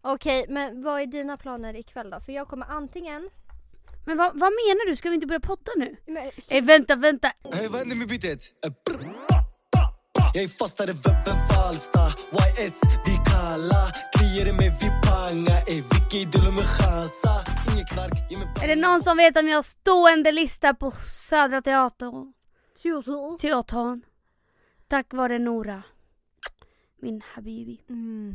Okej, men vad är dina planer ikväll då? För jag kommer antingen... Men vad, vad menar du? Ska vi inte börja podda nu? Men, Ey vänta, vänta! Hej, vad händer med beatet? Eh, brr, ba, ba, ba. Jag är fastare än Valsta YS, vi kalla Kliar i mig, vi panga Ey, vilken idol om en chansa Ingen knark, ge mig Är det någon som vet om jag har stående lista på Södra Teatern? Teatern. Tack vare Nora. Min habibi. Mm.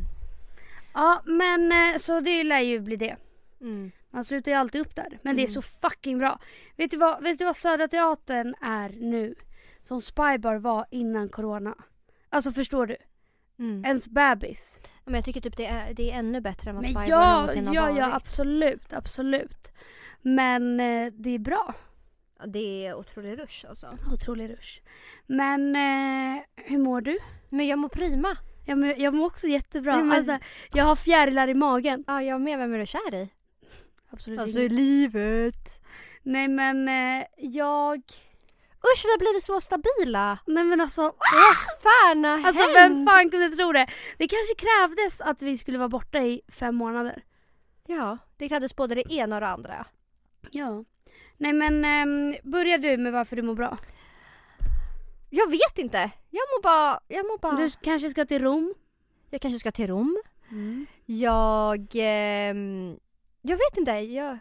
Ja men eh, så det lär ju bli det. Mm. Man slutar ju alltid upp där. Men det är så fucking bra. Vet du vad, vet du vad Södra Teatern är nu? Som Spybar var innan corona. Alltså förstår du? Mm. Ens bebis. Men jag tycker typ det är, det är ännu bättre än vad Men Spybar ja, någonsin har ja, varit. ja absolut, absolut. Men eh, det är bra. Ja, Det är otrolig rush alltså. Otrolig rush. Men eh, hur mår du? Men jag mår prima. Ja, men jag mår också jättebra. Nej, men- Alltså, jag har fjärilar i magen. Ja, jag med. Vem är du kär i? Absolut Alltså inget. livet. Nej men eh, jag... Usch, vi har blivit så stabila. Nej men alltså, Fan har alltså hänt? vem fan kunde tro det? Det kanske krävdes att vi skulle vara borta i fem månader. Ja, det krävdes både det ena och det andra. Ja. Nej men ehm, börja du med varför du mår bra. Jag vet inte. Jag mår bara... Jag, mår bara... Du kanske ska till Rom. jag kanske ska till Rom. Mm. Jag... ehm, jag vet inte. Jag,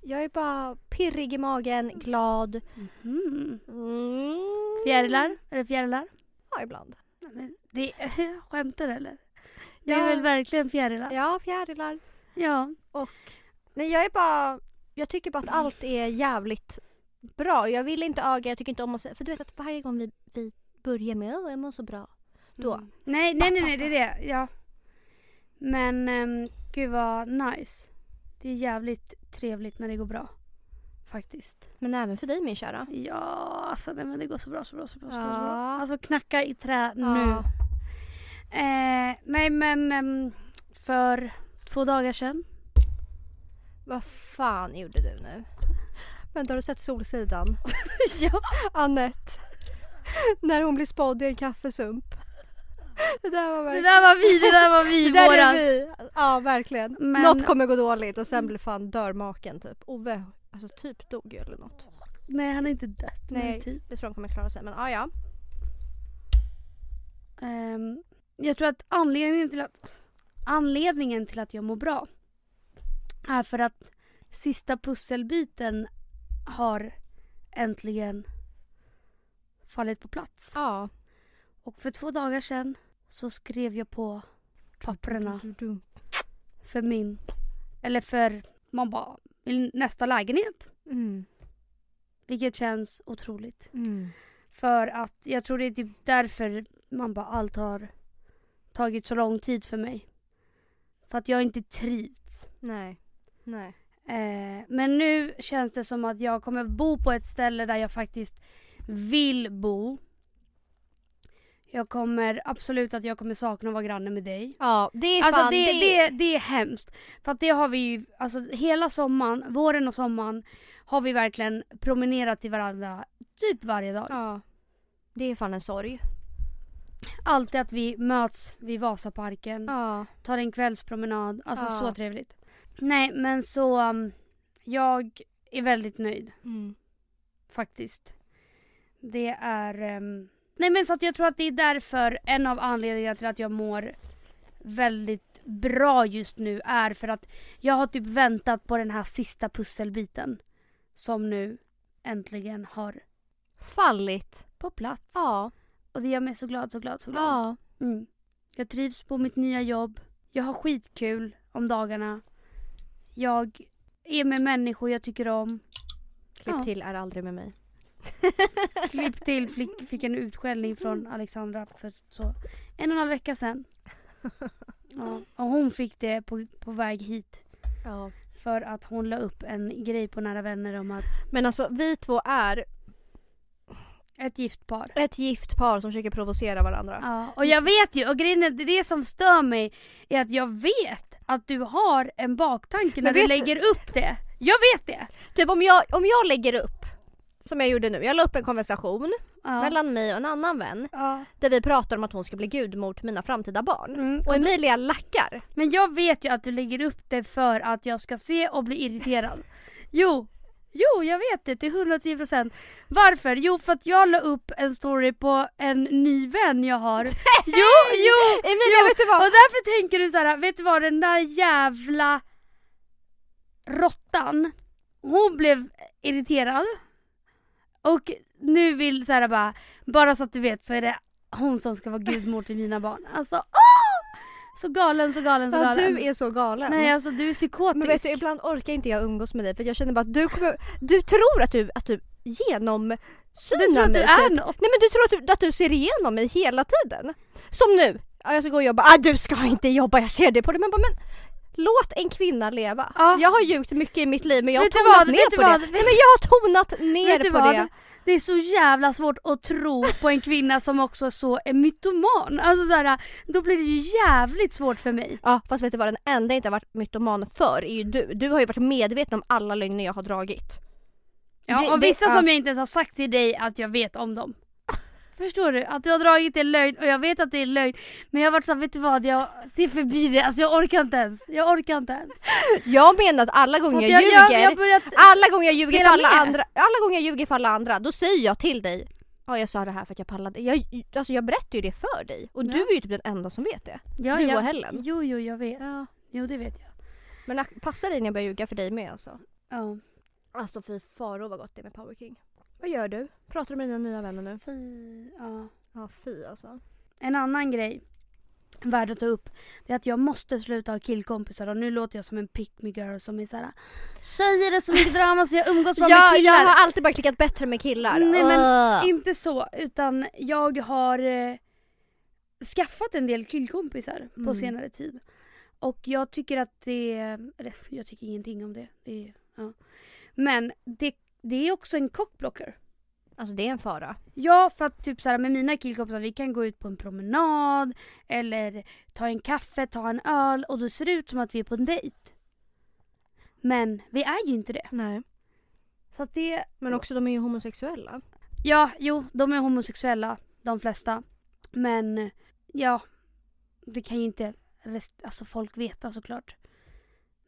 jag är bara pirrig i magen, glad. Mhm. Mm. Fjärilar? Är det fjärilar? Ja, ibland. Nej, men Det skämtar eller? Det är Ja. väl verkligen fjärilar? Ja, fjärilar. Ja. Nej, jag är bara... Jag tycker bara att allt är jävligt bra. Jag vill inte öga, jag tycker inte om att säga... För du vet att varje gång vi, vi börjar med "Åh, jag mår så bra. Då. Mm. Nej, nej, nej, nej, det är det. Ja. Men um, gud vad nice. Det är jävligt trevligt när det går bra. Faktiskt. Men även för dig min kära. Ja, alltså nej, men det går så bra, så bra, så bra. Så bra, så bra. Ja. Alltså knacka i trä nu. Ja. Eh, nej men ehm, för två dagar sedan. Vad fan gjorde du nu? Vänta, har du sett Solsidan? ja. Annette. När hon blir spådd i en kaffesump. Det där var Det verkligen... där var vi, det där var vi Det i där är våras. vi! Ja, verkligen. Men- Något kommer gå dåligt och sen blir fan dör maken typ. Ove, alltså typ dog ju eller något. Nej han är inte dött. men Nej. Typ. Jag tror han kommer klara sig men ah, ja. Ehm, jag tror att anledningen till att, anledningen till att jag mår bra är för att sista pusselbiten har äntligen fallit på plats. Ja. Och för två dagar sedan så skrev jag på papperna Du, du, du. för min, eller för, man bara, vill nästa lägenhet. Mm, Vilket känns otroligt. mm. För att jag tror det är typ därför man bara allt har tagit så lång tid för mig. För att jag inte trivts. Nej. Nej. Eh, men nu känns det som att jag kommer bo på ett ställe där jag faktiskt vill bo. Jag kommer absolut att jag kommer sakna att vara granne med dig. Ja, det är fan... Alltså det, det, det är hemskt. För att det har vi ju, alltså hela sommaren, våren och sommaren har vi verkligen promenerat till varandra typ varje dag. Ja. Det är fan en sorg. Alltid att vi möts vid Vasaparken, Ja. tar en kvällspromenad. Alltså Ja. så trevligt. Nej men så, um, jag är väldigt nöjd Mm. faktiskt. Det är... ehm, nej men så att jag tror att det är därför en av anledningarna till att jag mår väldigt bra just nu är för att jag har typ väntat på den här sista pusselbiten som nu äntligen har Fallit. på plats. Ja. Och det gör mig så glad, så glad, så glad. Ja. Mm. Jag trivs på mitt nya jobb. Jag har skitkul om dagarna. Jag är med människor jag tycker om. Klipp Ja. till är aldrig med mig. Klipp till flick, fick en utskällning Mm. från Alexandra för så en och en halv vecka sedan. Ja, och hon fick det på, på väg hit Ja. för att hon la upp en grej på Nära Vänner om att Men alltså vi två är ett gift par. ett gift par som försöker provocera varandra. Ja, och jag vet ju och grejen är, det som stör mig är att jag vet att du har en baktanke när Men du vet- lägger upp det. Jag vet det! Typ om jag, om jag lägger upp, som jag gjorde nu, jag la upp en konversation Ja. mellan mig och en annan vän ja. där vi pratar om att hon ska bli gudmor till mina framtida barn. Mm, Och Emilia lackar. Men jag vet ju att du lägger upp det för att jag ska se och bli irriterad. Jo, jo jag vet det till 110 procent. Varför? Jo för att jag la upp en story på en ny vän jag har. Jo, jo! Emilia vet du Och vad? därför tänker du så här, vet du vad den där jävla råttan, hon blev irriterad. Och nu vill så här bara, bara så att du vet så är det hon som ska vara gudmor till mina barn. Alltså, åh! Så galen, så galen, så Ja, galen. du är så galen. Nej alltså du är psykotisk. Men vet du, ibland orkar inte jag umgås med dig för jag känner bara att du kommer, du tror att du, att du du tror genomsynar att du mig. är typ. något. Nej men du tror att du, att du ser igenom mig hela tiden. Som nu, ja, jag ska gå och jobba, ah, du ska inte jobba jag ser det på dig. Man bara, men låt en kvinna leva. Ja. Jag har ljugit mycket i mitt liv men jag har Vet du tonat vad? ner på det. Vet du vad? Vet- Nej, men jag har tonat ner Vet du på vad? det. Det är så jävla svårt att tro på en kvinna som också så är mytoman. Alltså så här, då blir det ju jävligt svårt för mig. Ja fast vet du vad, den enda jag inte har varit mytoman för är ju du. Du har ju varit medveten om alla lögner jag har dragit. Ja, Det- och det- vissa ja. som jag inte ens har sagt till dig att jag vet om dem. Förstår du? Att du har dragit det lögn och jag vet att det är lögn. Men jag har varit såhär, vet du vad? Jag ser förbi det. Alltså jag orkar inte ens. Jag orkar inte ens. Jag menar att alla gånger Att jag, ljuger jag, jag har börjat... Alla gånger jag ljuger för Hela alla med. andra, alla gånger jag ljuger för alla andra, då säger jag till dig Ja jag sa det här för att jag pallade. Jag, alltså jag berättar ju det för dig och Ja. du är ju typ den enda som vet det. Ja, du jag, och Helen. Jo, jo, jag vet. Jo, det vet jag. Men ak- passa dig när jag börjar ljuga för dig med alltså. Ja. Alltså fy faro vad gott det är med Power King. Vad gör du? Pratar du med dina nya vänner nu? Fy, ja. Ja fy alltså. En annan grej värd att ta upp det är att jag måste sluta ha killkompisar och nu låter jag som en pick me girl som är såhär Tjejer är så mycket drama så jag umgås bara med Alltså, Jag, killar. jag har alltid bara klickat bättre med killar. Nej, men Ugh. Inte så, utan jag har eh, skaffat en del killkompisar på Mm. senare tid. Och jag tycker att det... Eller, jag tycker ingenting om det. det är- ja. Men det, det är också en cockblocker. Alltså det är en fara. Ja, för att typ så här, med mina killkompisar, vi kan gå ut på en promenad eller ta en kaffe, ta en öl och då ser det ut som att vi är på en dejt. Men vi är ju inte det. Nej. Så att det... Men också de är ju homosexuella. Ja, jo, de är homosexuella, de flesta. Men ja, det kan ju inte rest- alltså folk veta såklart.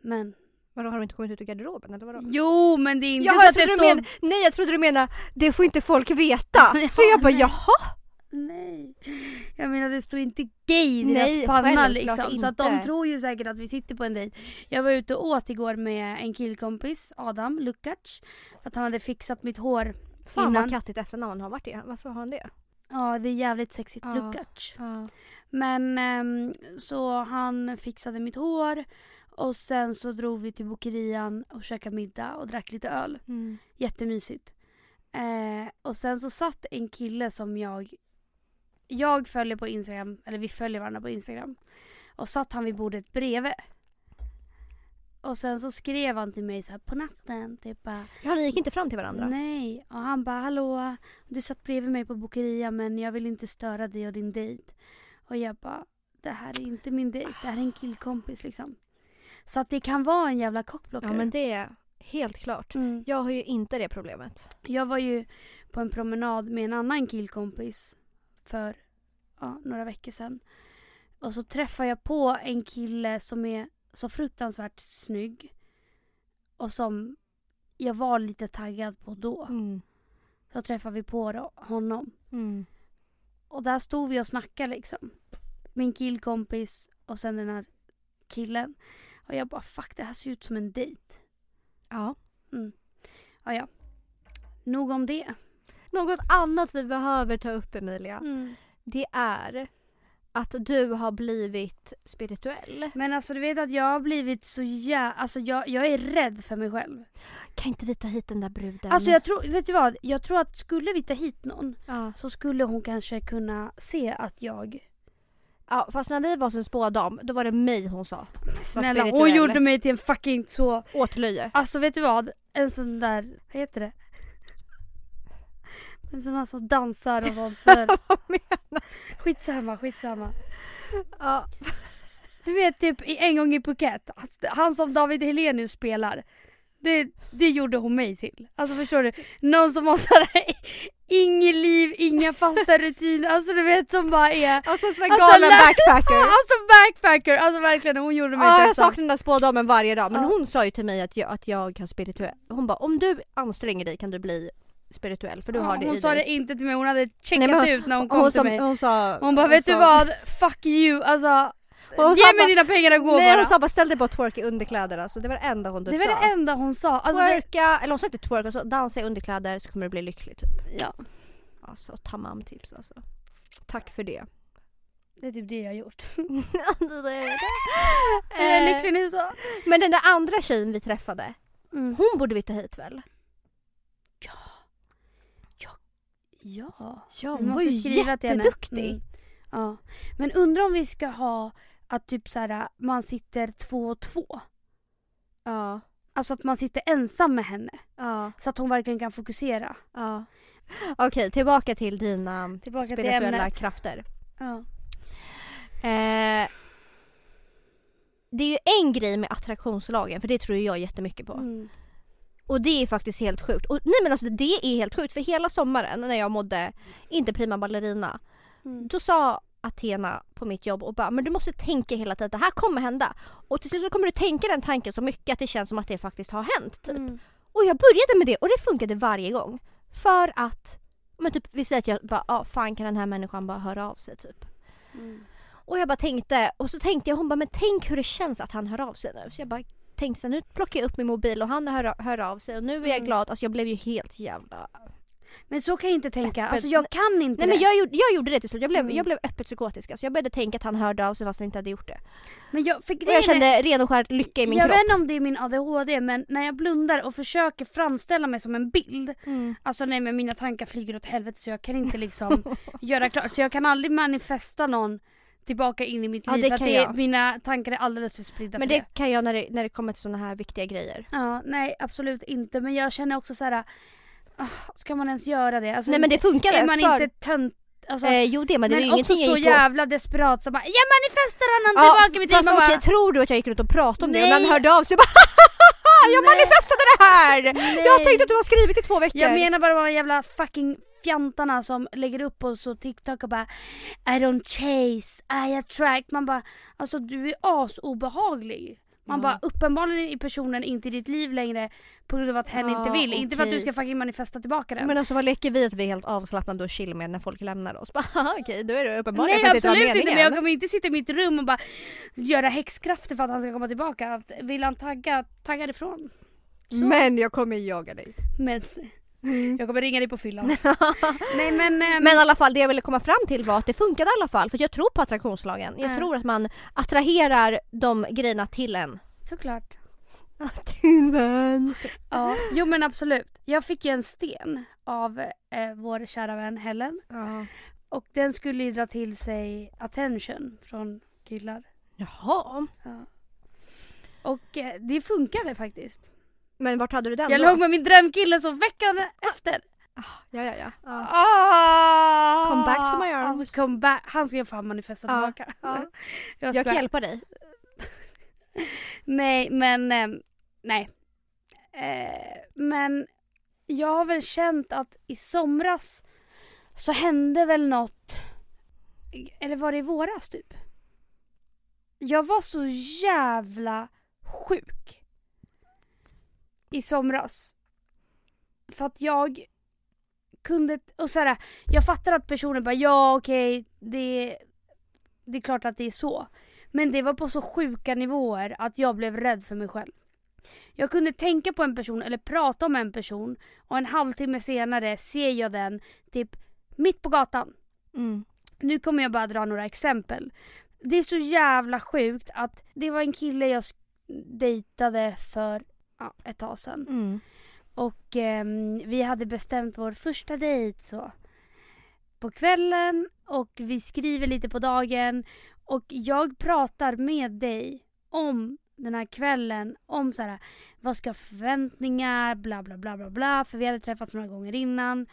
Men Vadå har de inte kommit ut ur garderoben eller vadå? jo, men det är inte Jaha, så jag att det trodde du står... men... Nej jag trodde du menade det får inte folk veta. Ja, så jag bara nej. jaha. Nej, jag menar det står inte gay i Nej, deras panna självklart liksom. Så att de inte. tror ju säkert att vi sitter på en dejt. Jag var ute och åt igår med en killkompis, Adam Lukacs. För att han hade fixat mitt hår. Fan innan. vad kattigt efternamn har varit det. Varför har han det? Ja, det är jävligt sexigt. Ja. Lukacs. Men ehm, så han fixade mitt hår och sen så drog vi till Bokerian och käkade middag och drack lite öl. Mm. Jättemysigt. Eh, och sen så satt en kille som jag jag följer på Instagram, eller vi följer varandra på Instagram. Och satt han vid bordet bredvid. Och sen så skrev han till mig så här på natten, typ bara Ja ni gick inte fram till varandra? Nej, och han bara hallå, du satt bredvid mig på Bokeria men jag vill inte störa dig och din dejt. Och jag bara, det här är inte min dejt, det här är en killkompis liksom. Så att det kan vara en jävla Ja cockblocker. men det är helt klart. mm. Jag har ju inte det problemet. Jag var ju på en promenad med en annan killkompis för ja, några veckor sedan. Och så träffade jag på en kille som är så fruktansvärt snygg. Och som jag var lite taggad på då. Mm. Så träffade vi på då, honom. Mm. Och där stod vi och snackade liksom. Min killkompis och sen den här killen. Och jag bara fuck det här ser ut som en dejt. Ja. Ja, ja. Nog om det. Något annat vi behöver ta upp Emilia, det är att du har blivit spirituell. Men alltså du vet att jag har blivit så jä... Alltså jag, jag är rädd för mig själv. Kan inte vi ta hit den där bruden? Alltså jag tror, vet du vad? Jag tror att skulle vi ta hit någon ja. så skulle hon kanske kunna se att jag... ja fast när vi var hos en spådam då var det mig hon sa. Snälla hon spirituell. gjorde mig till en fucking så... Åtlöje. Alltså vet du vad? En sån där, vad heter det? En sån här som dansar och sånt. Där. Skitsamma, skitsamma. Ja. Du vet typ i en gång i Phuket, han som David Helenius spelar. Det, det gjorde hon mig till. Alltså förstår du? Någon som har såhär inget liv, inga fasta rutiner. Alltså du vet som bara är... Och så sån där Alltså, galen lä- backpacker. Alltså backpacker, alltså verkligen hon gjorde mig Ja, jag stressad. saknar den där spådamen varje dag. Men Ja. hon sa ju till mig att jag, att jag har spirituell. Hon bara om du anstränger dig kan du bli spirituell för du Ja, har det hon i sa dig. det inte till mig, hon hade checkat Nej, men hon- ut när hon kom hon, till sa, mig. hon sa... Hon bara vet sa- du vad, fuck you alltså. Hon sa Ge mig bara- dina pengar och gå Nej bara. hon sa bara ställ dig på twerk i underkläder alltså. Det var det enda hon typ det var sa. det enda hon sa. Alltså, det, Twerka, eller hon sa inte twerka, hon sa dansa i underkläder så kommer du bli lycklig typ. ja, Alltså tamam tips alltså. Tack för det. det är typ det jag har gjort. Det är det. Jag är Eh, lycklig nu så. Men den där andra tjejen vi träffade, Mm. hon borde vi ta hit väl? Ja. Ja Vi hon var måste ju skriva till henne. jätteduktig. Mm. Ja. Men undrar om vi ska ha att typ så här, man sitter två och två. Ja, Alltså att man sitter ensam med henne. ja, Så att hon verkligen kan fokusera. ja. Okej tillbaka till dina Tillbaka till spirituella ämnet. krafter. Ja. Eh, det är ju en grej med attraktionslagen för det tror ju jag jättemycket på. Mm. Och det är faktiskt helt sjukt. Och, nej men alltså det är helt sjukt för hela sommaren när jag mådde inte prima ballerina Mm. då sa Athena på mitt jobb och bara men du måste tänka hela tiden det här kommer hända. Och till slut så kommer du tänka den tanken så mycket att det känns som att det faktiskt har hänt. Typ. Mm. Och jag började med det och det funkade varje gång. För att, men typ vi säger att jag bara ah, fan kan den här människan bara höra av sig typ. Mm. Och jag bara tänkte, och så tänkte jag hon bara men tänk hur det känns att han hör av sig nu. Så jag bara tänkte så här, nu plockar jag upp min mobil och han hör, hör av sig och nu är jag Mm. glad. Alltså jag blev ju helt jävla... Men så kan jag inte tänka. Öppet. Alltså jag kan inte Nej men det. jag, gjorde- jag gjorde det till slut, jag blev, Mm. jag blev öppet psykotisk. Alltså jag började tänka att han hörde av sig fast han inte hade gjort det. Men jag, för Och grejen jag är- kände ren och skär lycka i min jag kropp. vet inte om det är min ADHD men när jag blundar och försöker framställa mig som en bild. Mm. Alltså nej men mina tankar flyger åt helvete så jag kan inte liksom göra klart. Så jag kan aldrig manifesta någon tillbaka in i mitt Ja, liv. det för att kan det är, jag. mina tankar är alldeles för spridda Men för det kan jag när det, när det kommer till sådana här viktiga grejer. Ja, nej absolut inte. Men jag känner också så här. ah, ska man ens göra det? Alltså, Nej men det funkade. är man för, inte tönt? Alltså, eh, jo det men det var ju men också ingenting så jag gick och... jävla desperat som bara Jag manifesterar honom Ja, tillbaka i mitt liv! Fast Man bara, okej, tror du att jag gick runt och pratade om det och Nej. han hörde av sig och bara Jag Nej. manifestade det här! nej. Jag tänkte att du har skrivit i två veckor. Jag menar bara de här jävla fucking fjantarna som lägger upp oss och TikTok och bara I don't chase, I attract. Man bara alltså du är asobehaglig. Man Ja. bara uppenbarligen är personen inte i ditt liv längre på grund av att hen Ja, inte vill. Inte för att du okej. ska fucking manifesta tillbaka den. Men alltså vad leker vi att vi är helt avslappnade och chill med när folk lämnar oss? Bara, Haha, Okej, då är det uppenbarligen Nej för att det inte var absolut inte meningen. men jag kommer inte sitta i mitt rum och bara göra häxkrafter för att han ska komma tillbaka. Att Vill han tagga, tagga ifrån. Så. Men jag kommer jaga dig. Men jag kommer ringa dig på fyllan. Nej men, ehm, Men i alla fall det jag ville komma fram till var att det funkade i alla fall för jag tror på attraktionslagen. Jag Ja. tror att man attraherar de grejerna till en. såklart. till en. Ja, jo men absolut. Jag fick ju en sten av eh, vår kära vän Helen. Ja. Och den skulle ju dra till sig attention från killar. Jaha. Och eh, det funkade faktiskt. Men vart hade du den Jag då? låg med min drömkille så veckan efter. Ja, ja, ja. ja. Ah! Come back to my arms. Alltså, come back. Han ska fan manifesta Ja, tillbaka. ja. Jag, Jag svär. kan hjälpa dig. Nej men, ehm, nej. Eh, men jag har väl känt att i somras så hände väl något. Eller var det i våras typ? Jag var så jävla sjuk. I somras. För att jag kunde, och så här, jag fattar att personen bara ja okej det, det är klart att det är så. Men det var på så sjuka nivåer att jag blev rädd för mig själv. Jag kunde tänka på en person eller prata om en person och en halvtimme senare ser jag den typ mitt på gatan. Mm. Nu kommer jag bara dra några exempel. Det är så jävla sjukt att det var en kille jag sk- dejtade för ja, ett tag sedan. Mm. Och ehm, vi hade bestämt vår första dejt så. På kvällen och vi skriver lite på dagen. Och jag pratar med dig om den här kvällen. Om så här, vad ska jag ha för förväntningar, bla bla bla bla bla. För vi hade träffats några gånger innan.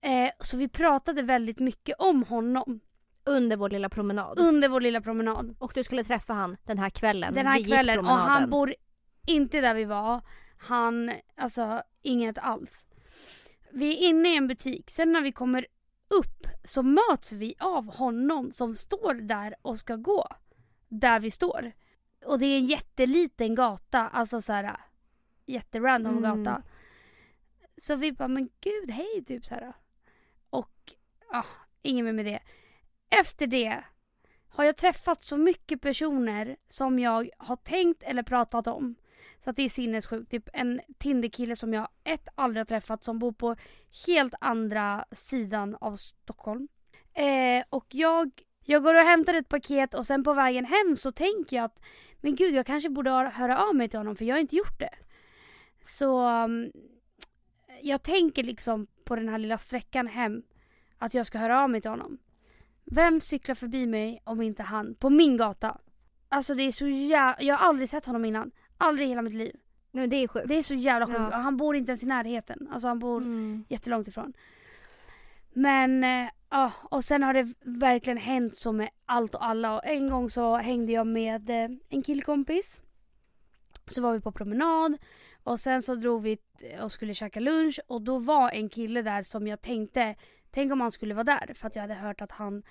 Eh, så vi pratade väldigt mycket om honom Under vår lilla promenad. under vår lilla promenad. Och du skulle träffa han den här kvällen. Mm. Den här Vi gick kvällen och promenaden. han bor inte där vi var. Han, alltså inget alls. Vi är inne i en butik, sen när vi kommer upp så möts vi av honom som står där och ska gå. Där vi står. Och det är en jätteliten gata, alltså så här jätterandom Mm. gata. Så vi bara, men gud, hej, typ så här. Och, ja, inget mer med det. Efter det har jag träffat så mycket personer som jag har tänkt eller pratat om. Så att det är sinnessjukt. Typ en Tinderkille som jag ett aldrig har träffat som bor på helt andra sidan av Stockholm. Eh, och jag, jag går och hämtar ett paket och sen på vägen hem så tänker jag att men gud jag kanske borde hö- höra av mig till honom för jag har inte gjort det. Så mm, jag tänker liksom på den här lilla sträckan hem att jag ska höra av mig till honom. Vem cyklar förbi mig om inte han på min gata? Alltså det är så jävla... Jag har aldrig sett honom innan. Aldrig i hela mitt liv. Nej, men det är sjukt. Det är så jävla sjukt. Ja. Och Han bor inte ens i närheten. Alltså han bor Mm. jättelångt ifrån. Men eh, ja, och sen har det verkligen hänt så med allt och alla. Och en gång så hängde jag med eh, en killkompis. Så var vi på promenad och sen så drog vi t- och skulle käka lunch och då var en kille där som jag tänkte, tänk om han skulle vara där för att jag hade hört att han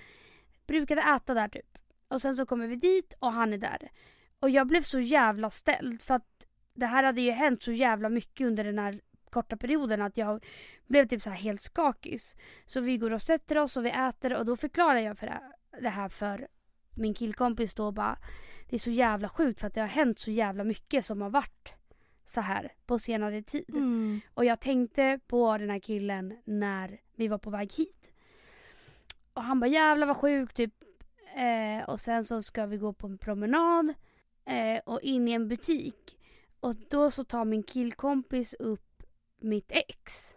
brukade äta där typ. Och sen så kommer vi dit och han är där. Och jag blev så jävla ställd för att det här hade ju hänt så jävla mycket under den här korta perioden att jag blev typ så här helt skakis. Så vi går och sätter oss och vi äter och då förklarar jag för det, det här för min killkompis då och bara det är så jävla sjukt för att det har hänt så jävla mycket som har varit så här på senare tid. Mm. Och jag tänkte på den här killen när vi var på väg hit. Och han bara jävlar vad sjuk typ. Eh, och sen så ska vi gå på en promenad eh, och in i en butik. Och då så tar min killkompis upp mitt ex.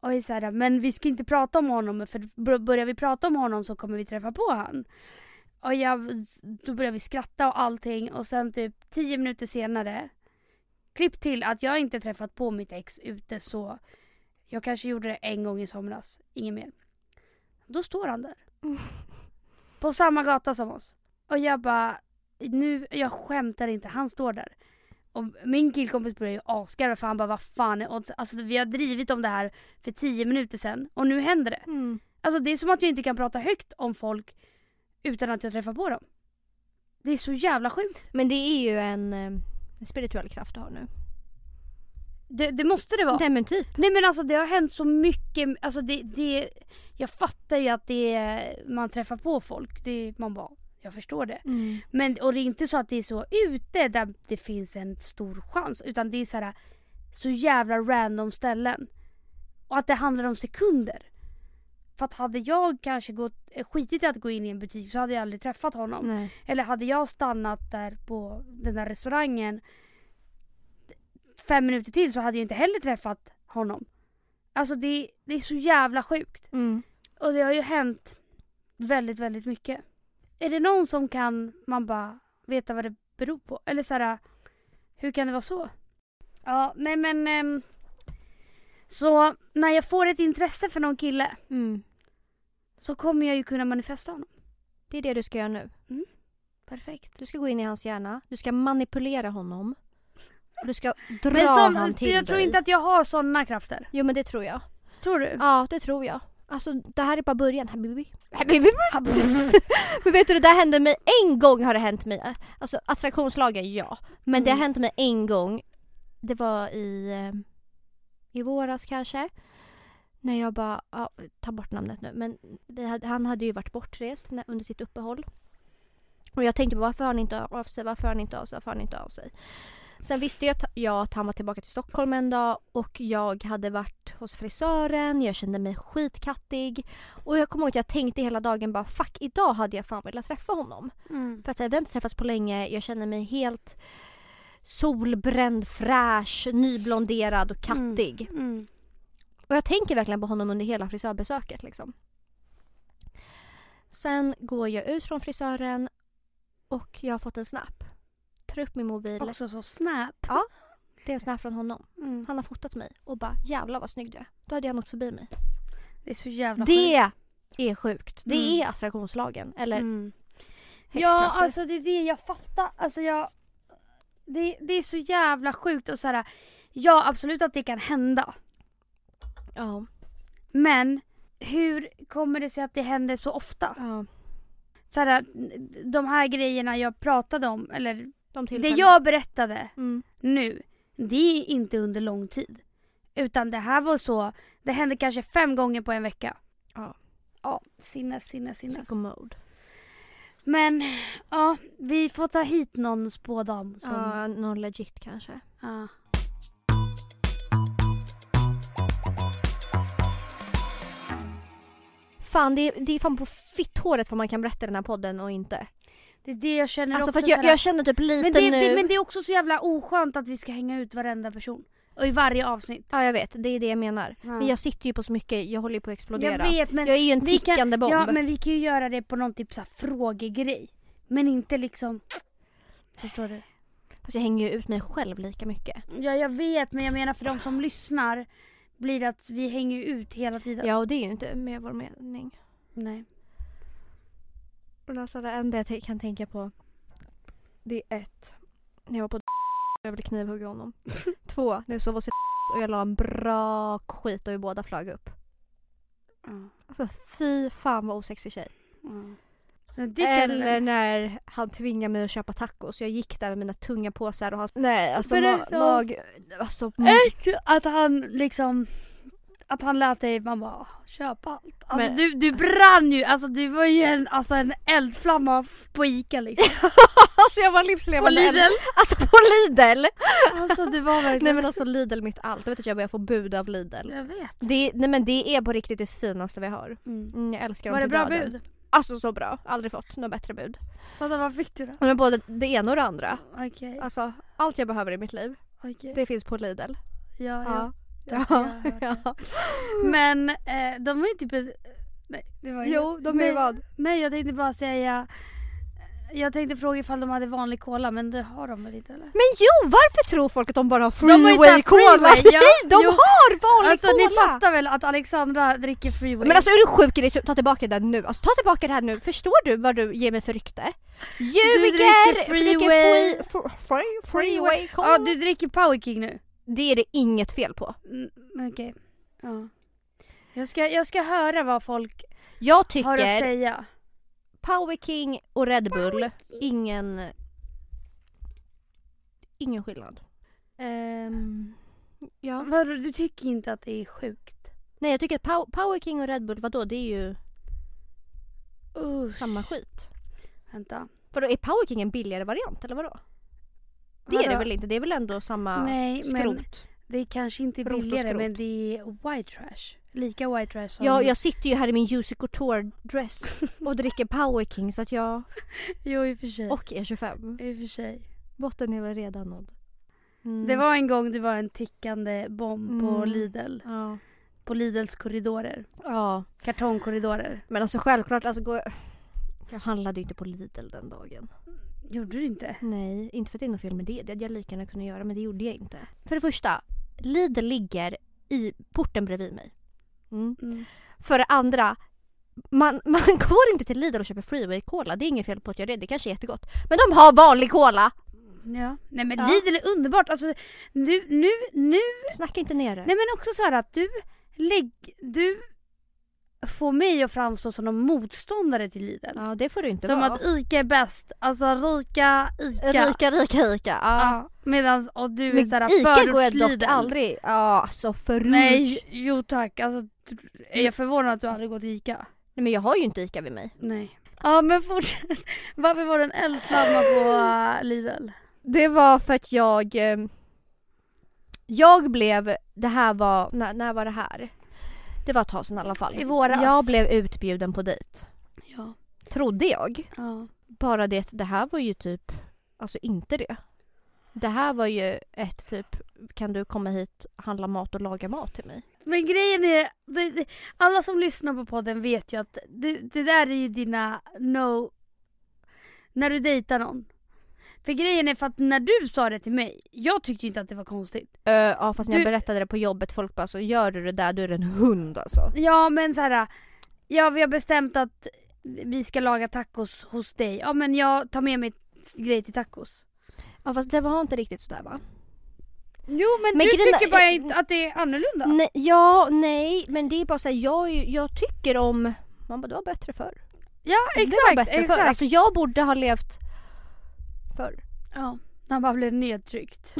Och är såhär, men vi ska inte prata om honom för bör- börjar vi prata om honom så kommer vi träffa på han. Och jag, då börjar vi skratta och allting och sen typ tio minuter senare Klipp till att jag inte träffat på mitt ex ute så jag kanske gjorde det en gång i somras, inget mer. Då står han där. På samma gata som oss. Och jag bara, nu, jag skämtar inte, han står där. Och min killkompis började ju asgarva för han bara, vad fan är odds? Alltså vi har drivit om det här för tio minuter sedan och nu händer det. Mm. Alltså det är som att jag inte kan prata högt om folk utan att jag träffar på dem. Det är så jävla sjukt. Men det är ju en eh, spirituell kraft du har nu. Det, det måste det vara. Nej men typ. Nej men alltså det har hänt så mycket, alltså det, det jag fattar ju att det är, man träffar på folk, det, man bara, jag förstår det. Men och det är inte så att det är så ute där det finns en stor chans utan det är så här så jävla random ställen. Och att det handlar om sekunder. För att hade jag kanske gått, eh, skitit i att gå in i en butik så hade jag aldrig träffat honom. Nej. Eller hade jag stannat där på den där restaurangen fem minuter till så hade jag inte heller träffat honom. Alltså det, det är så jävla sjukt. Mm. Och det har ju hänt väldigt, väldigt mycket. Är det någon som kan, man bara, veta vad det beror på? Eller så här, hur kan det vara så? Ja, nej men. ehm, så när jag får ett intresse för någon kille Mm. så kommer jag ju kunna manifestera honom. Det är det du ska göra nu. Perfekt. Du ska gå in i hans hjärna, du ska manipulera honom. Och Du ska dra Men sån, han så till jag tror dig. inte att jag har sådana krafter. Jo men det tror jag. Tror du? Ja det tror jag. Alltså det här är bara början. Habibi. Habibi. Men vet du det där hände mig en gång har det hänt mig. Alltså attraktionslagen ja. Men det har Mm. hänt mig en gång. Det var i, eh, i våras kanske. När jag bara, ja, ta bort namnet nu. Men vi hade, han hade ju varit bortrest när- under sitt uppehåll. Och jag tänkte bara, varför hör han inte av sig, varför hör han inte av sig, varför hör han inte av sig. Sen visste jag att, jag att han var tillbaka till Stockholm en dag och jag hade varit hos frisören, jag kände mig skitkattig. Och jag kommer ihåg att jag tänkte hela dagen bara fuck idag hade jag fan velat träffa honom. Mm. För att så här, vi har inte träffats på länge, jag känner mig helt solbränd, fräsch, nyblonderad och kattig. Mm. Och jag tänker verkligen på honom under hela frisörbesöket. Liksom. Sen går jag ut från frisören och jag har fått en snap. Tar upp min mobil. Också så snap. Ja. Det är en snap från honom. Mm. Han har fotat mig och bara jävlar vad snygg du är. Då hade han åkt förbi mig. Det är så jävla sjukt. Det är sjukt. Det Mm. är attraktionslagen. Eller Mm. Ja, häxkrafter. alltså det är det jag fattar. Alltså jag... Det, det är så jävla sjukt och så här. Ja, absolut att det kan hända. Ja. Men hur kommer det sig att det händer så ofta? Ja, Så här, de här grejerna jag pratade om, eller de det tillfällena. jag berättade Mm. nu, det är inte under lång tid. Utan det här var så, det hände kanske fem gånger på en vecka. Ja. Ja, sinnes, sinnes, sinnes. Psykomode. Men ja, vi får ta hit någon spådam som... Ja, någon legit kanske. Ja. Fan, det är, det är fan på fitthåret vad man kan berätta i den här podden och inte. Det är det jag känner Alltså för också. att jag, såhär- jag känner typ lite men, det, nu. det, men det är också så jävla oskönt att vi ska hänga ut varenda person. Och i varje avsnitt. Ja, jag vet. Det är det jag menar. Ja. Men jag sitter ju på så mycket, jag håller ju på att explodera. Jag vet men... jag är ju en vi kan- tickande bomb. Ja men vi kan ju göra det på någon typ såhär frågegrej. Men inte liksom... Förstår du? Fast jag hänger ju ut mig själv lika mycket. Ja jag vet men jag menar för de som lyssnar blir det att vi hänger ju ut hela tiden. Ja, och det är ju inte med vår mening. Nej. Men alltså det enda jag te- kan tänka på det är ett, när jag var på och jag ville knivhugga honom. Två, när jag sov hos och jag la en bra skit och vi båda flög upp. Ja, Alltså fy fan vad osexig tjej. ja. Men Det kan du Eller väl- när han tvingade mig att köpa tacos. Jag gick där med mina tunga påsar och han... Nej alltså ma- Berätta. mag... Alltså, ma- Att han liksom... Att han lät dig, man bara "Åh, köp allt. Alltså Men- du, du brann ju, alltså du var ju en, alltså, en eldflamma f- på Ica liksom. alltså jag var På livslevande eld. Lidl. Alltså på Lidl! Alltså du var verkligen... Nej men alltså Lidl mitt allt. Du vet att jag börjar få bud av Lidl. Jag vet. Det, nej men det är på riktigt det finaste vi har. Mm, jag älskar dem Var det till bra döden. bud? Alltså så bra. Aldrig fått något bättre bud. Vänta vad fick du då? Men både det ena och det andra. Okej, Alltså allt jag behöver i mitt liv. okej. Det finns på Lidl. Ja, ja. Ja. ja, Ja. jag hörde. Men eh, de var ju typ... ett- Nej, det var ju- Jo, de är ju nej, vad? nej, jag tänkte bara säga... Jag tänkte fråga ifall de hade vanlig cola, men det har de väl inte eller? Men jo, varför tror folk att de bara har ju så här freeway cola? freeway, ja, Nej, de jo. har vanlig Alltså cola! ni fattar väl att Alexandra dricker Freeway? Men alltså är du sjuk i det? Ta tillbaka det här nu. Alltså ta tillbaka det här nu. Förstår du vad du ger mig för rykte? alltså, Ljuger! dricker Freeway. Free, free, freeway cola. Ja, du dricker Power King nu? Det är det inget fel på. Mm, Okej. Ja. Jag ska, jag ska höra vad folk Jag har att tycker säga. Power King och Red Bull, ingen... Ingen skillnad. Ehm, ja. Vadå, du tycker inte att det är sjukt? Nej jag tycker att Pow- Power King och Red Bull, vadå det är ju Usch. samma skit. Vänta. Vadå är Power King en billigare variant eller vadå? Det är det Vadå? väl inte? Det är väl ändå samma Nej, men skrot? Det är kanske inte är Rot och billigare skrot. men det är white trash. Lika white trash som... Ja, jag sitter ju här i min Juicy Couture dress och dricker Power King så att jag... Jo i och för sig. Och är 25. I och för sig. Botten är väl redan nådd. Mm. Det var en gång det var en tickande bomb på Mm. Lidl. Ja. På Lidls korridorer. ja. Kartongkorridorer. Men alltså självklart, alltså går jag... jag handlade ju inte på Lidl den dagen. Gjorde du inte? Nej, inte för att det är något fel med det. Det hade jag lika gärna kunnat göra men det gjorde jag inte. För det första, Lidl ligger i porten bredvid mig. Mm. Mm. För det andra, man, man går inte till Lidl och köper Freeway Cola. Det är inget fel på att göra det, det kanske är jättegott. Men de har vanlig cola! Ja. Nej men Ja. Lidl är underbart. Alltså nu, nu, nu. Snacka inte ner det. Nej men också så här att du lägg... Du får mig att framstå som en motståndare till Lidl. Ja, det får du inte som vara. att ICA är bäst. Alltså rika ICA. Rika, rika, rika. Ja. Ja. Medan, och du är Men såhär Ica går jag dock förorts-Lidl. aldrig. Ja, alltså förut. Nej, jo tack. Alltså, tr- är jag förvånad att du aldrig gått till Ica? Nej men jag har ju inte Ica vid mig. Nej. Ja men fortsätt. Varför var det en eldflamma på äh, Lidl? Det var för att jag... eh, Jag blev... Det här var... När, när var det här? Det var ett tag sedan i alla fall. I våras. Jag blev utbjuden på dejt. Ja. Trodde jag. ja. Bara det att det här var ju typ... Alltså inte det. Det här var ju ett typ... Kan du komma hit, handla mat och laga mat till mig? Men grejen är, det, det, alla som lyssnar på podden vet ju att det, det där är ju dina no... När du dejtar någon. För grejen är för att när du sa det till mig, jag tyckte ju inte att det var konstigt. Ö, ja fast när Eh, Du- jag berättade det på jobbet, folk bara så gör du det där du är en hund alltså. Ja men så här. ja vi har bestämt att vi ska laga tacos hos dig. Ja men jag tar med mig grej till tacos. Ja fast det var inte riktigt sådär va? Jo men, Men du grejen är- tycker bara Mm, inte att det är annorlunda. Nej, ja, nej, men det är bara så här, jag, är ju- jag tycker om... Man bara, det var bättre förr. Ja det var exakt, bättre exakt. förr. Alltså jag borde ha levt förr. Ja, när man blev nedtryckt.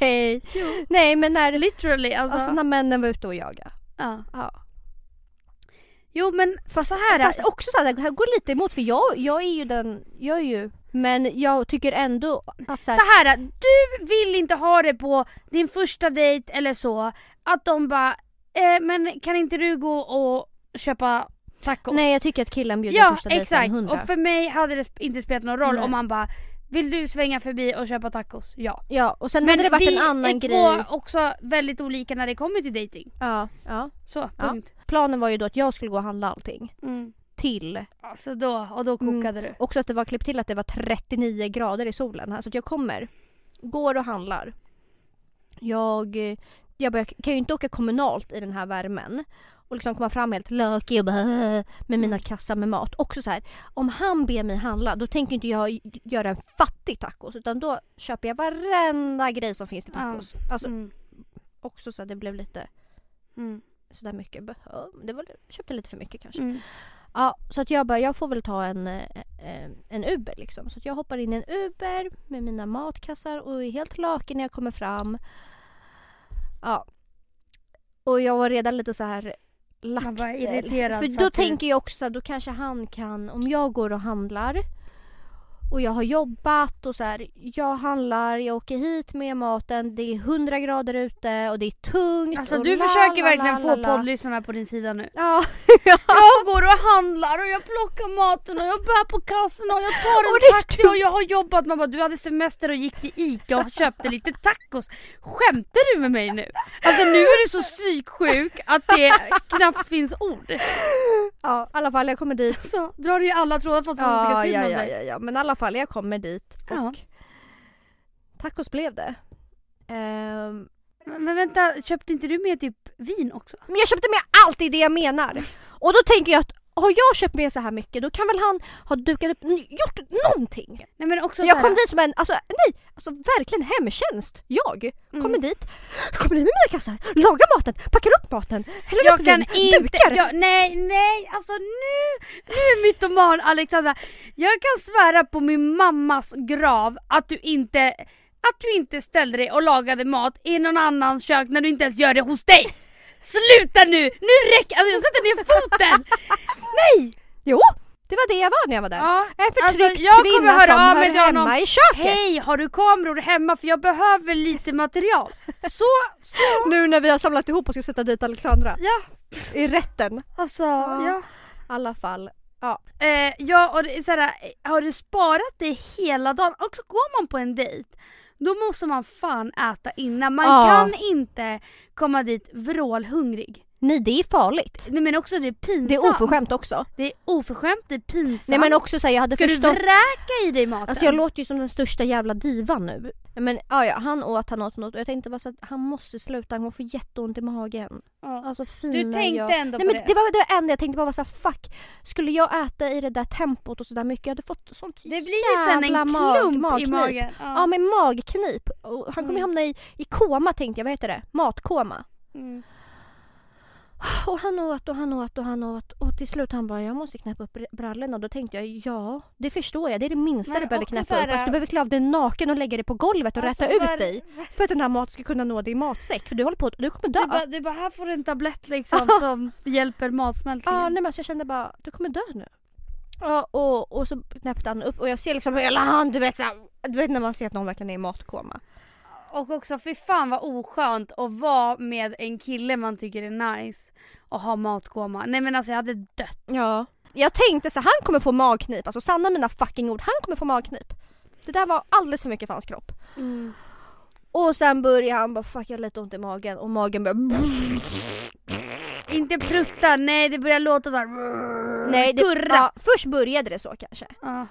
Nej. nej, men när, Literally alltså. alltså, när männen var ute och jagade. ja. Ja. Jo men fast så här. Fast också så här, det här går lite emot för jag, jag är ju den, jag är ju, men jag tycker ändå att så här, Så här, du vill inte ha det på din första dejt eller så, att de bara eh, men kan inte du gå och köpa tacos? nej jag tycker att killen bjuder ja första dejten exakt, 100. och för mig hade det sp- inte spelat någon roll Nej. om man bara vill du svänga förbi och köpa tacos? Ja. ja, och sen hade det varit vi en annan är grej. två också väldigt olika när det kommer till dating. Ja, ja. Så, Ja. punkt. Planen var ju då att jag skulle gå och handla allting Mm. till, Ja, så då, och då Mm. kokade du. också att det var klippt till att det var 39 grader i solen här så att jag kommer, går och handlar. Jag, eh, jag bara, jag kan ju inte åka kommunalt i den här värmen och liksom komma fram helt lökig och bara, "Äh", med mina kassar med mat. Också så här, om han ber mig handla då tänker inte jag göra en fattig tacos utan då köper jag varenda grej som finns till tacos. Alltså Mm. också så att det blev lite Mm. sådär mycket behöv. Det var, jag köpte lite för mycket kanske. Mm. Ja, så att jag bara, jag får väl ta en, eh, eh, en Uber liksom. Så att jag hoppar in i en Uber med mina matkassar och är helt lökig när jag kommer fram. Ja. Och jag var redan lite så här lack. Man var irriterad. För då tänker jag också så här, då kanske han kan, om jag går och handlar och jag har jobbat och så här, jag handlar, jag åker hit med maten, det är 100 grader ute och det är tungt. Alltså och du la, försöker la, verkligen la, få la, la. poddlyssnarna på din sida nu. Ja. Jag går och handlar och jag plockar maten och jag bär på kassorna och jag tar en Och det är taxi och jag har jobbat. Man bara, du hade semester och gick till Ica och köpte lite tacos. Skämtar du med mig nu? Alltså nu är du så psyksjuk att det knappt finns ord. ja, i alla fall jag kommer dit. Så drar du ju alla trådar fast man inte Ja, kan ja, syna ja, dig. ja, ja, men i alla fall jag kommer dit och Ja. tacos blev det. Ehm, Men vänta, köpte inte du med typ vin också? men jag köpte med allt i det jag menar. Och då tänker jag att har jag köpt med så här mycket då kan väl han ha dukat upp, n- gjort någonting. Nej men också jag så här- kom dit som en, alltså nej, alltså verkligen hemtjänst. Jag Mm. kommer dit, kommer in med mina kassar, lagar maten, packar upp maten, häller Jag upp kan vin, inte, dukar. jag, nej nej alltså nu, nu är mytoman Alexandra. Jag kan svära på min mammas grav att du inte, att du inte ställde dig och lagade mat i någon annans kök när du inte ens gör det hos dig. Sluta nu, nu räcker alltså jag sätter ner foten. Nej! Jo, det var det jag var när jag var där. Ja, En förtryckt alltså, jag kommer kvinna höra som av mig hör till hemma honom. i köket. Hej, har du kameror hemma för jag behöver lite material. Så, så, Nu när vi har samlat ihop och ska sätta dit Alexandra ja i rätten. alltså Ja. ja. I alla fall. Eh, ja och det är såhär, eh, har du sparat det hela dagen? Och så går man på en dejt, då måste man fan äta innan. Man Ja. kan inte komma dit vrålhungrig. Nej det är farligt. Nej men också det är pinsamt. Det är oförskämt också. Det är oförskämt, det är pinsamt. Nej men också såhär jag hade Ska du förstått. vräka i dig maten? Alltså jag låter ju som den största jävla divan nu. Men ja, ja han åt, han åt, han åt. Och jag tänkte bara så att han måste sluta, han får jätteont i magen. ja. Alltså fina Du tänkte jag. ändå Nej på men det det. var det enda jag tänkte på var såhär fuck. Skulle jag äta i det där tempot och sådär mycket jag hade fått sånt Det blir ju sen en mag- klump i magknip. magen. Ja, men magknip. Och han kommer ju Mm. hamna i, i koma tänkte jag, vad heter det? Matkoma. Mm. Och han åt och han åt och han åt och till slut han bara jag måste knäppa upp brallorna och då tänkte jag ja det förstår jag det är det minsta Men du behöver också knäppa så här- upp. Alltså, du behöver klä av dig naken och lägga dig på golvet och Alltså, räta ut var- dig för att den här maten ska kunna nå din matsäck för du håller på att- du kommer dö. Du bara, du bara, här får du en tablett liksom som hjälper matsmältningen. Ja, nej, men alltså, jag kände bara du kommer dö nu. Ja, och, och så knäppte han upp och jag ser liksom hela han du vet så här, du vet när man ser att någon verkligen är i matkoma. Och också fy fan vad oskönt att vara med en kille man tycker är nice och ha matkoma. Nej men alltså jag hade dött. Ja. Jag tänkte så här, han kommer få magknip alltså sanna mina fucking ord han kommer få magknip. Det där var alldeles för mycket för hans kropp. Mm. Och sen börjar han bara fuck jag har lite ont i magen och magen börjar Inte prutta, nej det börjar låta såhär. Nej, det, kurra. ja, först började det så kanske. Ja.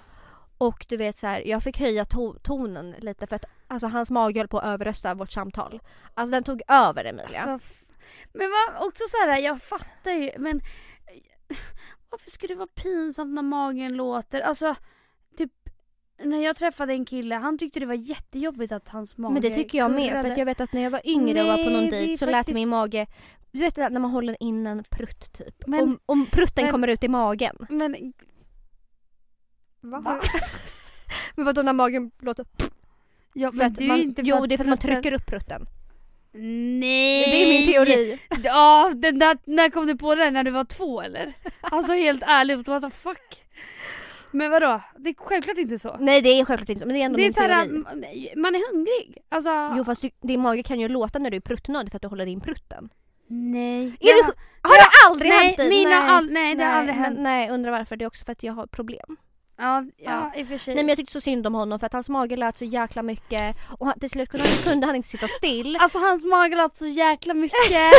Och du vet så här, jag fick höja to- tonen lite för att alltså, hans mage höll på att överrösta vårt samtal. Alltså den tog över Emilia. Alltså, f- men vad, också såhär, jag fattar ju men eh, varför skulle det vara pinsamt när magen låter? Alltså typ när jag träffade en kille, han tyckte det var jättejobbigt att hans mage Men det tycker jag med för kurrade. att jag vet att när jag var yngre och var på någon Nej, det är dejt så lät faktiskt- min mage Du vet när man håller in en prutt typ. Men- om, om prutten men- kommer ut i magen. Men... Va? Men vadå när magen låter? Ja, För men att du är man, inte för jo att det är för att man prutten- trycker upp prutten. Nej! Det är min teori. Ja, den där, när kom du på den? När du var två eller? Alltså helt ärligt, what the fuck? Men vadå? Det är självklart inte så. Nej det är självklart inte så, men det är ändå det är min så här, teori. m- man är hungrig. Alltså... Jo fast du, din mage kan ju låta när du är pruttnödig för att du håller in prutten. Nej. Är Jag- du- Har Ja, det aldrig nej, hänt dig? mina all- nej, det har aldrig men- hänt. Nej undrar varför, det är också för att jag har problem. Ja, ja, i och för sig. Nej men jag tyckte så synd om honom för att hans mage lät så jäkla mycket och han, till slut kunde han, kunde han inte sitta still. Alltså hans mage lät så jäkla mycket.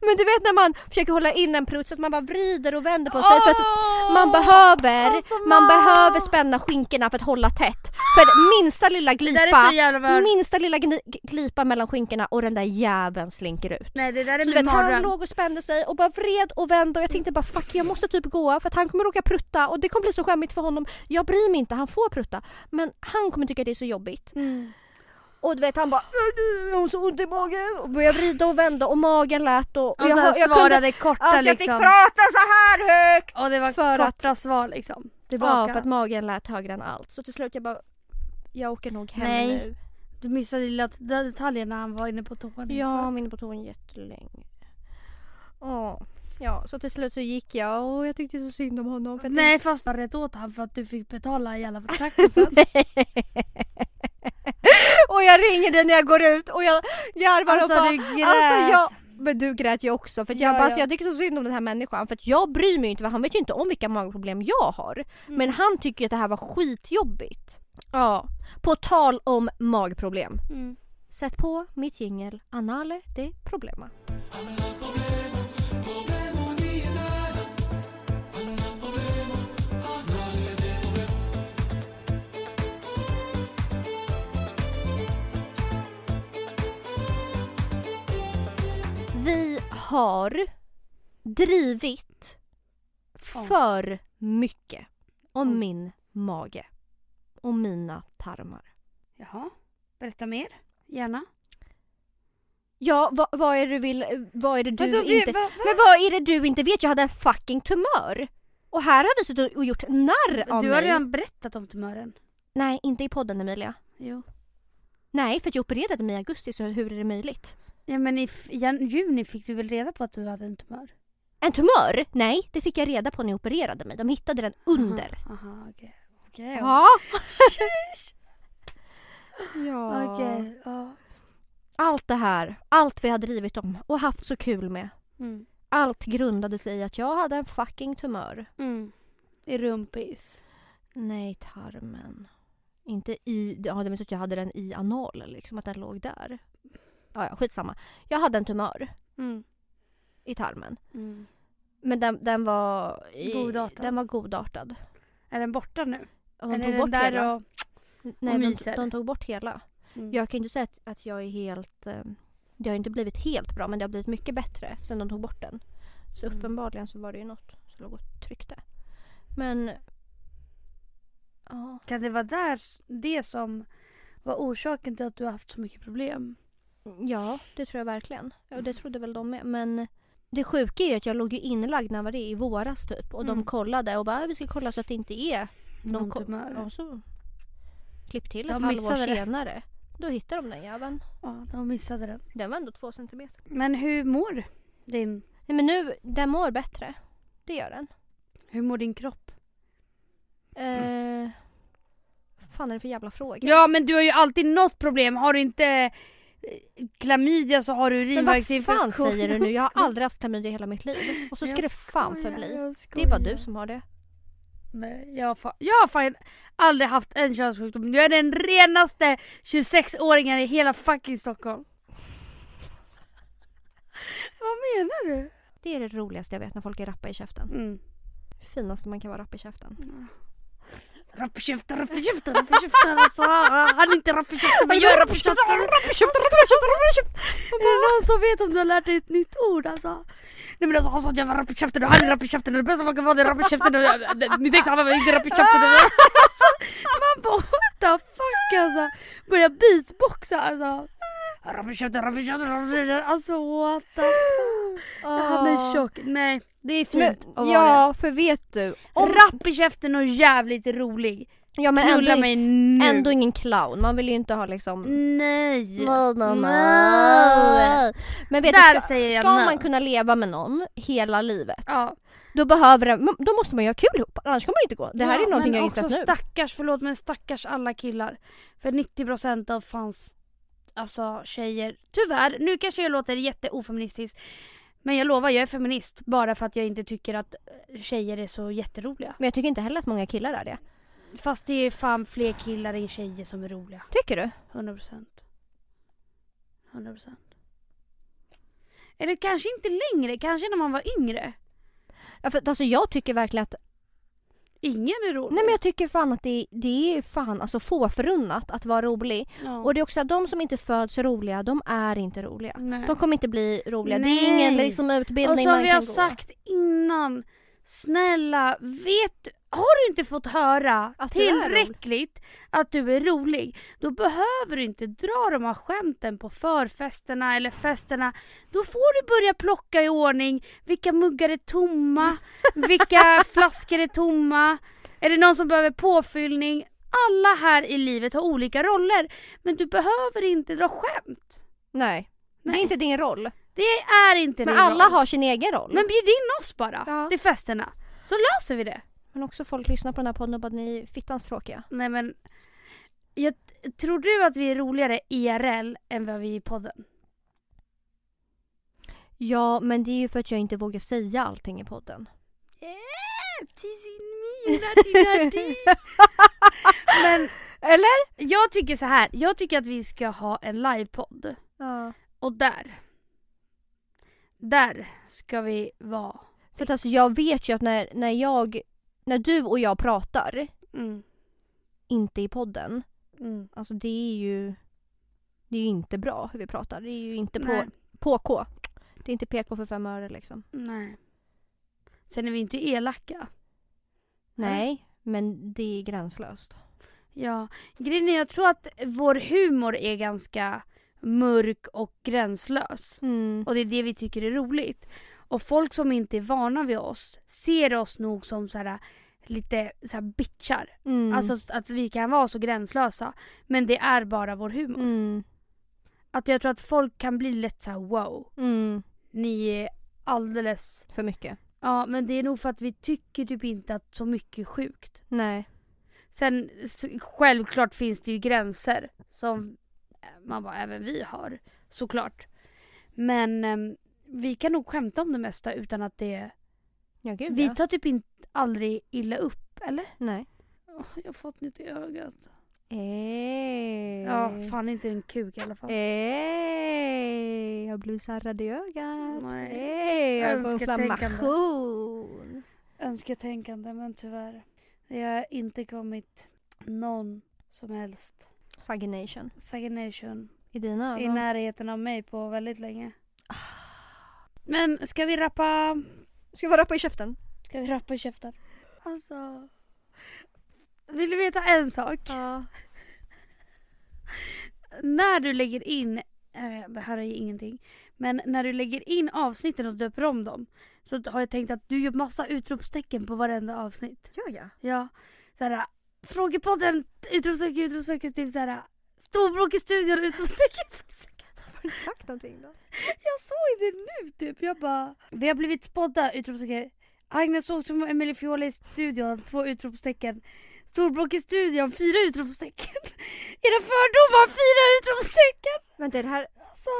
Men du vet när man försöker hålla in en prutt så att man bara vrider och vänder på sig för att Åh! man behöver, alltså, man ma- behöver spänna skinkorna för att hålla tätt. För minsta lilla Det där är så glipa, jävla mörkt. minsta lilla gni- glipa mellan skinkorna och den där jäveln slinker ut. Nej det där är Så du min Alltså, vet, han mardröm. låg och spände sig och bara vred och vände och jag tänkte bara fuck jag måste typ gå för att han kommer råka prutta och det kommer bli så skämmigt för honom. Jag bryr mig inte, han får prutta. Men han kommer tycka det är så jobbigt. Mm. Och du vet han bara "Åh, jag har så ont i magen och började vrida och vända och magen lät och, och Och så här jag svarade korta alltså, jag fick liksom. prata så här högt! och det var för att- korta svar liksom. Tillbaka. Ja för att magen lät högre än allt så till slut jag bara jag åker nog hem Nej. nu. Du missade lilla t- den detaljen när han var inne på toan. Ja, jag var inne på toan jättelänge. Åh. Ja, så till slut så gick jag och jag tyckte så synd om honom. För att Nej fast var rätt åt han för att du fick betala i alla betraktelser. Och jag ringer dig när jag går ut och jag garvar Alltså, och bara du grät. Alltså jag men du grät ju också för att jag Ja, bara, ja. Så jag tycker så synd om den här människan för att jag bryr mig ju inte för han vet ju inte om vilka magproblem jag har. Mm. Men han tycker ju att det här var skitjobbigt. Ja. På tal om magproblem. Mm. Sätt på mitt jingel Anale de problema. Vi har drivit för mycket om Om. min mage och mina tarmar. Jaha. Berätta mer. Gärna. Ja, vad, vad är det du vill, eh, vad är det du Vadå, vi- inte... va, va? Men vad är det du inte vet? Jag hade en fucking tumör! Och här har vi suttit och gjort narr av du har mig. redan berättat om tumören. Nej, inte i podden Emilia. Jo. Nej, för att jag opererade mig i augusti så hur är det möjligt? Ja men i f- jan- juni fick du väl reda på att du hade en tumör? En tumör? Nej, det fick jag reda på när jag opererade mig. De hittade den under. Aha, aha okej. Okej. ja. Ja. ja. Okej. Ja. Allt det här, allt vi har drivit om och haft så kul med. Mm. Allt grundade sig i att jag hade en fucking tumör. Mm. I rumpis. Nej, tarmen. Inte i... Ja, det minns att jag hade den i analen, liksom. Att den låg där. Ja, ja, skitsamma. Jag hade en tumör Mm. i tarmen. Mm. Men den, den var... I, Godartad. Den var godartad. Är den borta nu? Och De Eller tog är den bort där hela. och... Nej, de, myser? de tog bort hela. Mm. Jag kan ju inte säga att, att jag är helt... Eh, det har ju inte blivit helt bra, men det har blivit mycket bättre sen de tog bort den. Så Mm. uppenbarligen så var det ju något som låg och tryckte. Men... Ja. Kan det vara där, s- det som var orsaken till att du har haft så mycket problem? Ja, det tror jag verkligen. Och Mm. det trodde väl de med. Men det sjuka är ju att jag låg ju inlagd när var det i våras typ. Och de Mm. kollade och bara "Äh, vi ska kolla så att det inte är Någon ko- tumör? Och så klipp till De ett halvår missade det. senare. Då hittade de den jäveln. Ja, de missade den. Den var ändå två centimeter. Men hur mår du? din, Nej men nu, den mår bättre. Det gör den. hur mår din kropp? Eh, vad fan är det för jävla fråga? Mm. Ja men du har ju alltid något problem. Har du inte eh, klamydia så har du men vad fan urinvägsinfektion. säger du nu? Jag har aldrig haft klamydia i hela mitt liv. Och så ska Jag det fan skojar, förbli. jag Det är bara skojar. du som har det. Nej, jag har, fan, jag har fan aldrig haft en könssjukdom. Du är den renaste 26-åringen i hela fucking Stockholm. Vad menar du? Det är det roligaste jag vet när folk är rappa i käften. Mm. Ah. finaste man kan vara rapp i käften. Rappekäften, rappekäften, rappekäften. Alltså, han är inte rappekäften, men jag är rappekäften. Är det någon som vet om du har lärt dig ett nytt ord alltså? Nej men alltså han sa att jag var rapp i käften och han är rapp i käften och det bästa man kan vara det är rapp i käften och mitt ex han var inte rapp i käften. Alltså, man bara what the fuck alltså. Börjar beatboxa alltså. Rapp i käften, rapp i käften, rapp i käften. Alltså what the Han är tjock. Nej det är Ah. Men, fint att vara ja, för vet du. det. Om, Rapp i käften och jävligt rolig. ja men Knulla ändå, mig nu. ändå ingen clown. Man vill ju inte ha liksom... Nej. Nej, nej, Nej. nej. Men vet Där du, ska, säger jag ska nej. man kunna leva med någon hela livet Ja. då, behöver, det- då måste man ju ha kul ihop, annars kommer det inte gå. Det här är ju någonting men jag har insett också nu. stackars, förlåt men stackars alla killar. För 90% av fans, alltså tjejer, tyvärr, nu kanske jag låter jätteofeministisk. Men jag lovar, jag är feminist bara för att jag inte tycker att eh, tjejer är så jätteroliga. Men jag tycker inte heller att många killar är det. Fast det är fan fler killar än tjejer som är roliga. Tycker du? 100%. 100%. Eller kanske inte längre, kanske när man var yngre. Ja, för, att, alltså, jag tycker verkligen att, Ingen är rolig. nej men jag tycker fan att det, det är fan alltså få förunnat att vara rolig. ja. Och det är också att de som inte föds roliga, de är inte roliga. Nej. De kommer inte bli roliga. Det är ingen Nej. liksom, utbildning Och man som vi har kan sagt innan, snälla, vet du- har du inte fått höra Att du är tillräckligt att du är rolig, då behöver du inte dra de här skämten på förfesterna eller festerna. Då får du börja plocka i ordning vilka muggar är tomma, vilka flaskor är tomma, är det någon som behöver påfyllning? Alla här i livet har olika roller, men du behöver inte dra skämt. gå. Nej. Det Nej. är inte din roll. Det är inte Men din alla roll. har sin egen roll. Men bjud in oss bara Ja. till festerna. Så löser vi det. Men också folk lyssnar på den här podden och bara ni är fittans tråkiga. Nej men. Jag, t- tror du att vi är roligare IRL än vad vi är i podden? Ja men det är ju för att jag inte vågar säga allting i podden. Men Eller? jag tycker så här. Jag tycker att vi ska ha en livepodd. Ja. Och där. Där ska vi vara. För att alltså jag vet ju att när, när jag, när du och jag pratar, Mm. inte i podden, alltså det är ju, det är ju inte bra hur vi pratar. Det är ju inte på, Nej. PK. Det är inte PK för fem öre liksom. Nej. Sen är vi inte elaka. Nej. Nej, men det är gränslöst. Ja, grejen är jag tror att vår humor är ganska mörk och gränslös. Och det är det vi tycker är roligt. Och folk som inte är vana vid oss ser oss nog som så här, lite så här bitchar. Mm. Alltså att vi kan vara så gränslösa. Men det är bara vår humor. Mm. Att jag tror att folk kan bli lätt så här: wow, Mm. ni är alldeles... För mycket. Ja men det är nog för att vi tycker typ inte att så mycket är sjukt. Nej. Sen s- självklart finns det ju gränser som man bara, även vi har såklart. Men ehm, vi kan nog skämta om det mesta utan att det Ja gud Vi ja. tar typ inte aldrig illa upp, eller? Nej. Åh, jag har fått nytt i ögat. Ey. Ja, fan inte en kuk i alla fall. Ey. Eh. Jag blev sarrad i ögat. Nej. Ey, jag har Önsketänkande. inflammation. Önsketänkande, men tyvärr. Det har inte kommit någon som helst Sagination. stagnation I dina ögon? i närheten av mig på väldigt länge. Men ska vi rappa? Ska vi rappa i käften? Ska vi rappa i käften? Alltså. Vill du veta en sak? Ja. när du lägger in, eh, det här är ju ingenting, men när du lägger in avsnitten och döper om dem så har jag tänkt att du gör massa utropstecken på varenda avsnitt. Gör jag? Ja, såhär frågepodden, utropstecken, utropstecken, typ såhär storbråk i studion, utropstecken, utropstecken. Har du inte sagt någonting då? Jag såg det nu typ, jag bara. Vi har blivit spådda, utropstecken. Agnes Åström och Emily Fiola i studion, två utropstecken. Storbråk i studion, fyra utropstecken. Era fördomar, fyra utropstecken. Vänta, är det här... Alltså,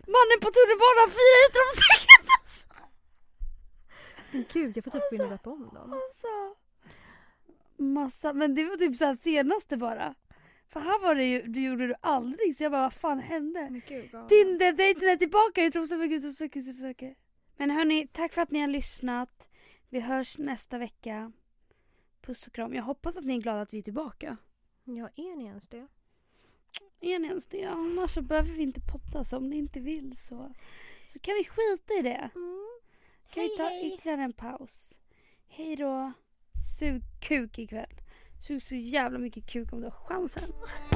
mannen på tunnelbanan firar utropstecken. Men Gud, jag får typ gå in och rappa om dem. Alltså, massa, men det var typ så här senaste bara. För här var det ju, du gjorde det aldrig så jag bara vad fan hände? Men gud, vad- Tinder-dejten är tillbaka, utropstecken, utropstecken, utropstecken. Men hörni, tack för att ni har lyssnat. Vi hörs nästa vecka. Puss och kram. Jag hoppas att ni är glada att vi är tillbaka. Ja, är ni ens det? Är ni ens det? Annars så behöver vi inte podda. Så om ni inte vill så, så kan vi skita i det. Mm. Kan vi ta ytterligare en paus? Hej då. Sug kuk ikväll. Sug så jävla mycket kuk om du har chansen.